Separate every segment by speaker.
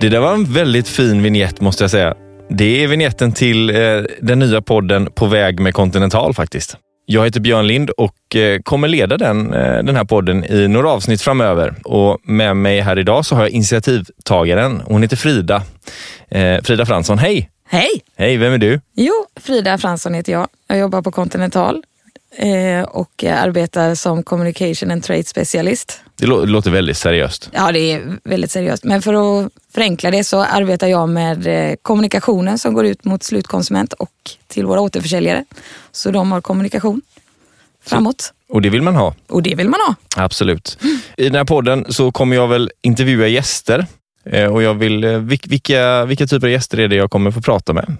Speaker 1: Det där var en väldigt fin vignett måste jag säga. Det är vignetten till eh, den nya podden På väg med Continental faktiskt. Jag heter Björn Lind och eh, kommer leda den, eh, den här podden i några avsnitt framöver. Och med mig här idag så har jag initiativtagaren. Hon heter Frida. Eh, Frida Fransson, hej!
Speaker 2: Hej!
Speaker 1: Hej, vem är du?
Speaker 2: Jo, Frida Fransson heter jag. Jag jobbar på Continental eh, och arbetar som communication and trade specialist.
Speaker 1: Det lå- låter väldigt seriöst.
Speaker 2: Ja, det är väldigt seriöst, men för att förenkla det så arbetar jag med eh, kommunikationen som går ut mot slutkonsument och till våra återförsäljare. Så de har kommunikation framåt
Speaker 1: Och det vill man ha.
Speaker 2: och det vill man ha.
Speaker 1: Absolut. I den här podden så kommer jag väl intervjua gäster. Eh, Och jag vill, eh, vil- vilka, vilka typer av gäster är det jag kommer få prata med?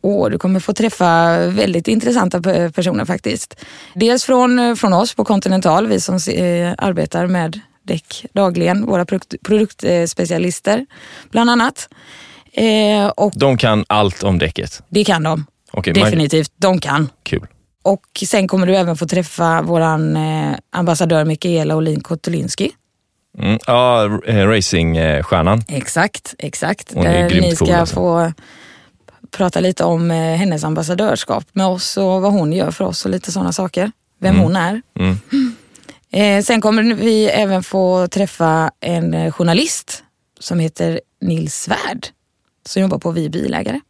Speaker 2: Och du kommer få träffa väldigt intressanta pe- personer faktiskt. Dels från, från oss på Continental, vi som eh, arbetar med däck dagligen, våra produkt, produktspecialister bland annat. Eh, och
Speaker 1: De kan allt om däcket.
Speaker 2: det kan de,
Speaker 1: Okej, man-
Speaker 2: definitivt. De kan.
Speaker 1: Kul.
Speaker 2: Och sen kommer du även få träffa våran eh, ambassadör Mikaela Olin Kotolinski.
Speaker 1: Mm. Ja, r- eh, racingstjärnan.
Speaker 2: Exakt, exakt.
Speaker 1: Hon är
Speaker 2: Där
Speaker 1: grymt
Speaker 2: Eh, ni ska
Speaker 1: cool, alltså.
Speaker 2: få prata lite om eh, hennes ambassadörskap med oss och vad hon gör för oss och lite sådana saker. Vem hon är.
Speaker 1: Mm.
Speaker 2: Eh, sen kommer vi även få träffa en eh, journalist som heter Nils Svärd som jobbar på Vi Bilägare.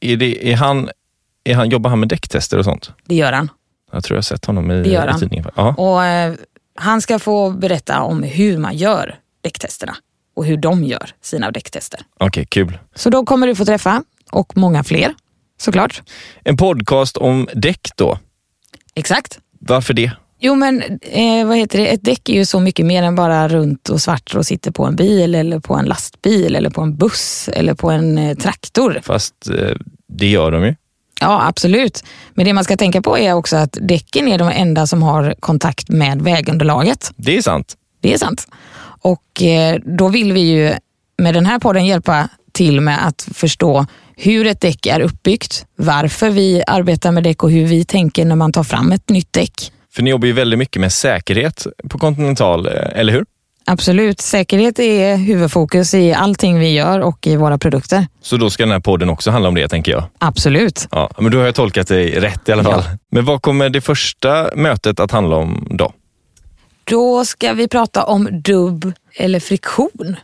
Speaker 1: Är det, är han, är han, jobbar han med däcktester och sånt?
Speaker 2: Det gör han.
Speaker 1: Jag tror jag har sett honom i,
Speaker 2: Det gör
Speaker 1: i
Speaker 2: han.
Speaker 1: tidningen. Ja.
Speaker 2: Och eh, han ska få berätta om hur man gör däcktesterna och hur de gör sina däcktester.
Speaker 1: Okej, kul.
Speaker 2: Så då kommer du få träffa, och många fler såklart.
Speaker 1: En podcast om däck då.
Speaker 2: Exakt.
Speaker 1: Varför det?
Speaker 2: Jo men eh, vad heter det, ett däck är ju så mycket mer än bara runt och svart och sitter på en bil eller på en lastbil eller på en buss eller på en eh, traktor.
Speaker 1: Fast eh, det gör de ju.
Speaker 2: Ja absolut, men det man ska tänka på är också att däcken är de enda som har kontakt med vägunderlaget.
Speaker 1: Det är sant.
Speaker 2: Det är sant. Och eh, då vill vi ju med den här podden hjälpa till med att förstå hur ett däck är uppbyggt, varför vi arbetar med däck och hur vi tänker när man tar fram ett nytt däck.
Speaker 1: För ni jobbar ju väldigt mycket med säkerhet på Continental, eh, eller hur?
Speaker 2: Absolut, säkerhet är huvudfokus i allting vi gör och i våra produkter.
Speaker 1: Så då ska den här podden också handla om det, tänker jag.
Speaker 2: Absolut.
Speaker 1: Ja, men då har jag tolkat dig rätt i alla fall. Men vad kommer det första mötet att handla om då?
Speaker 2: Då ska vi prata om dubb eller friktion.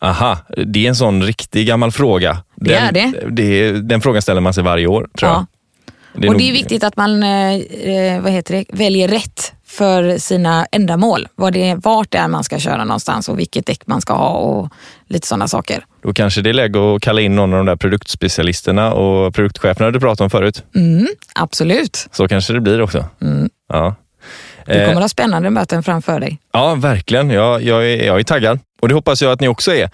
Speaker 1: Aha, det är en sån riktig gammal fråga.
Speaker 2: Det är
Speaker 1: det. är- den frågan ställer man sig varje år, tror jag.
Speaker 2: Ja.
Speaker 1: Det
Speaker 2: och
Speaker 1: nog-
Speaker 2: det är viktigt att man eh, eh, vad heter det, väljer rätt för sina ändamål. Vad det, vart det är man ska köra någonstans och vilket däck man ska ha och lite sådana saker.
Speaker 1: Då kanske det är läge att kalla in någon av de där produktspecialisterna och produktcheferna du pratade om förut.
Speaker 2: Mm, absolut.
Speaker 1: Så kanske det blir också. Ja.
Speaker 2: Du
Speaker 1: Eh,
Speaker 2: Mm. kommer ha spännande möten framför dig.
Speaker 1: Ja, verkligen. Jag, jag, är, jag är taggad. Och det hoppas jag att ni också är.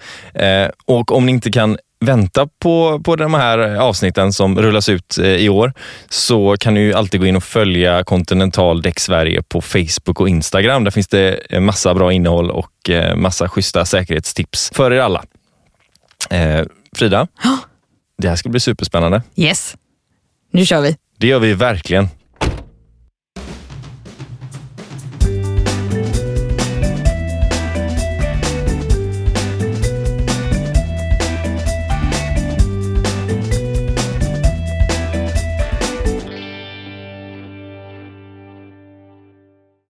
Speaker 1: Eh, och om ni inte kan vänta på, på de här avsnitten som rullas ut eh, i år så kan ni ju alltid gå in och följa Continental Däck Sverige på Facebook och Instagram. Där finns det eh, massa bra innehåll och eh, massa schyssta säkerhetstips för er alla. Eh, Frida, det här ska bli superspännande.
Speaker 2: Yes. Nu kör vi.
Speaker 1: Det gör vi verkligen.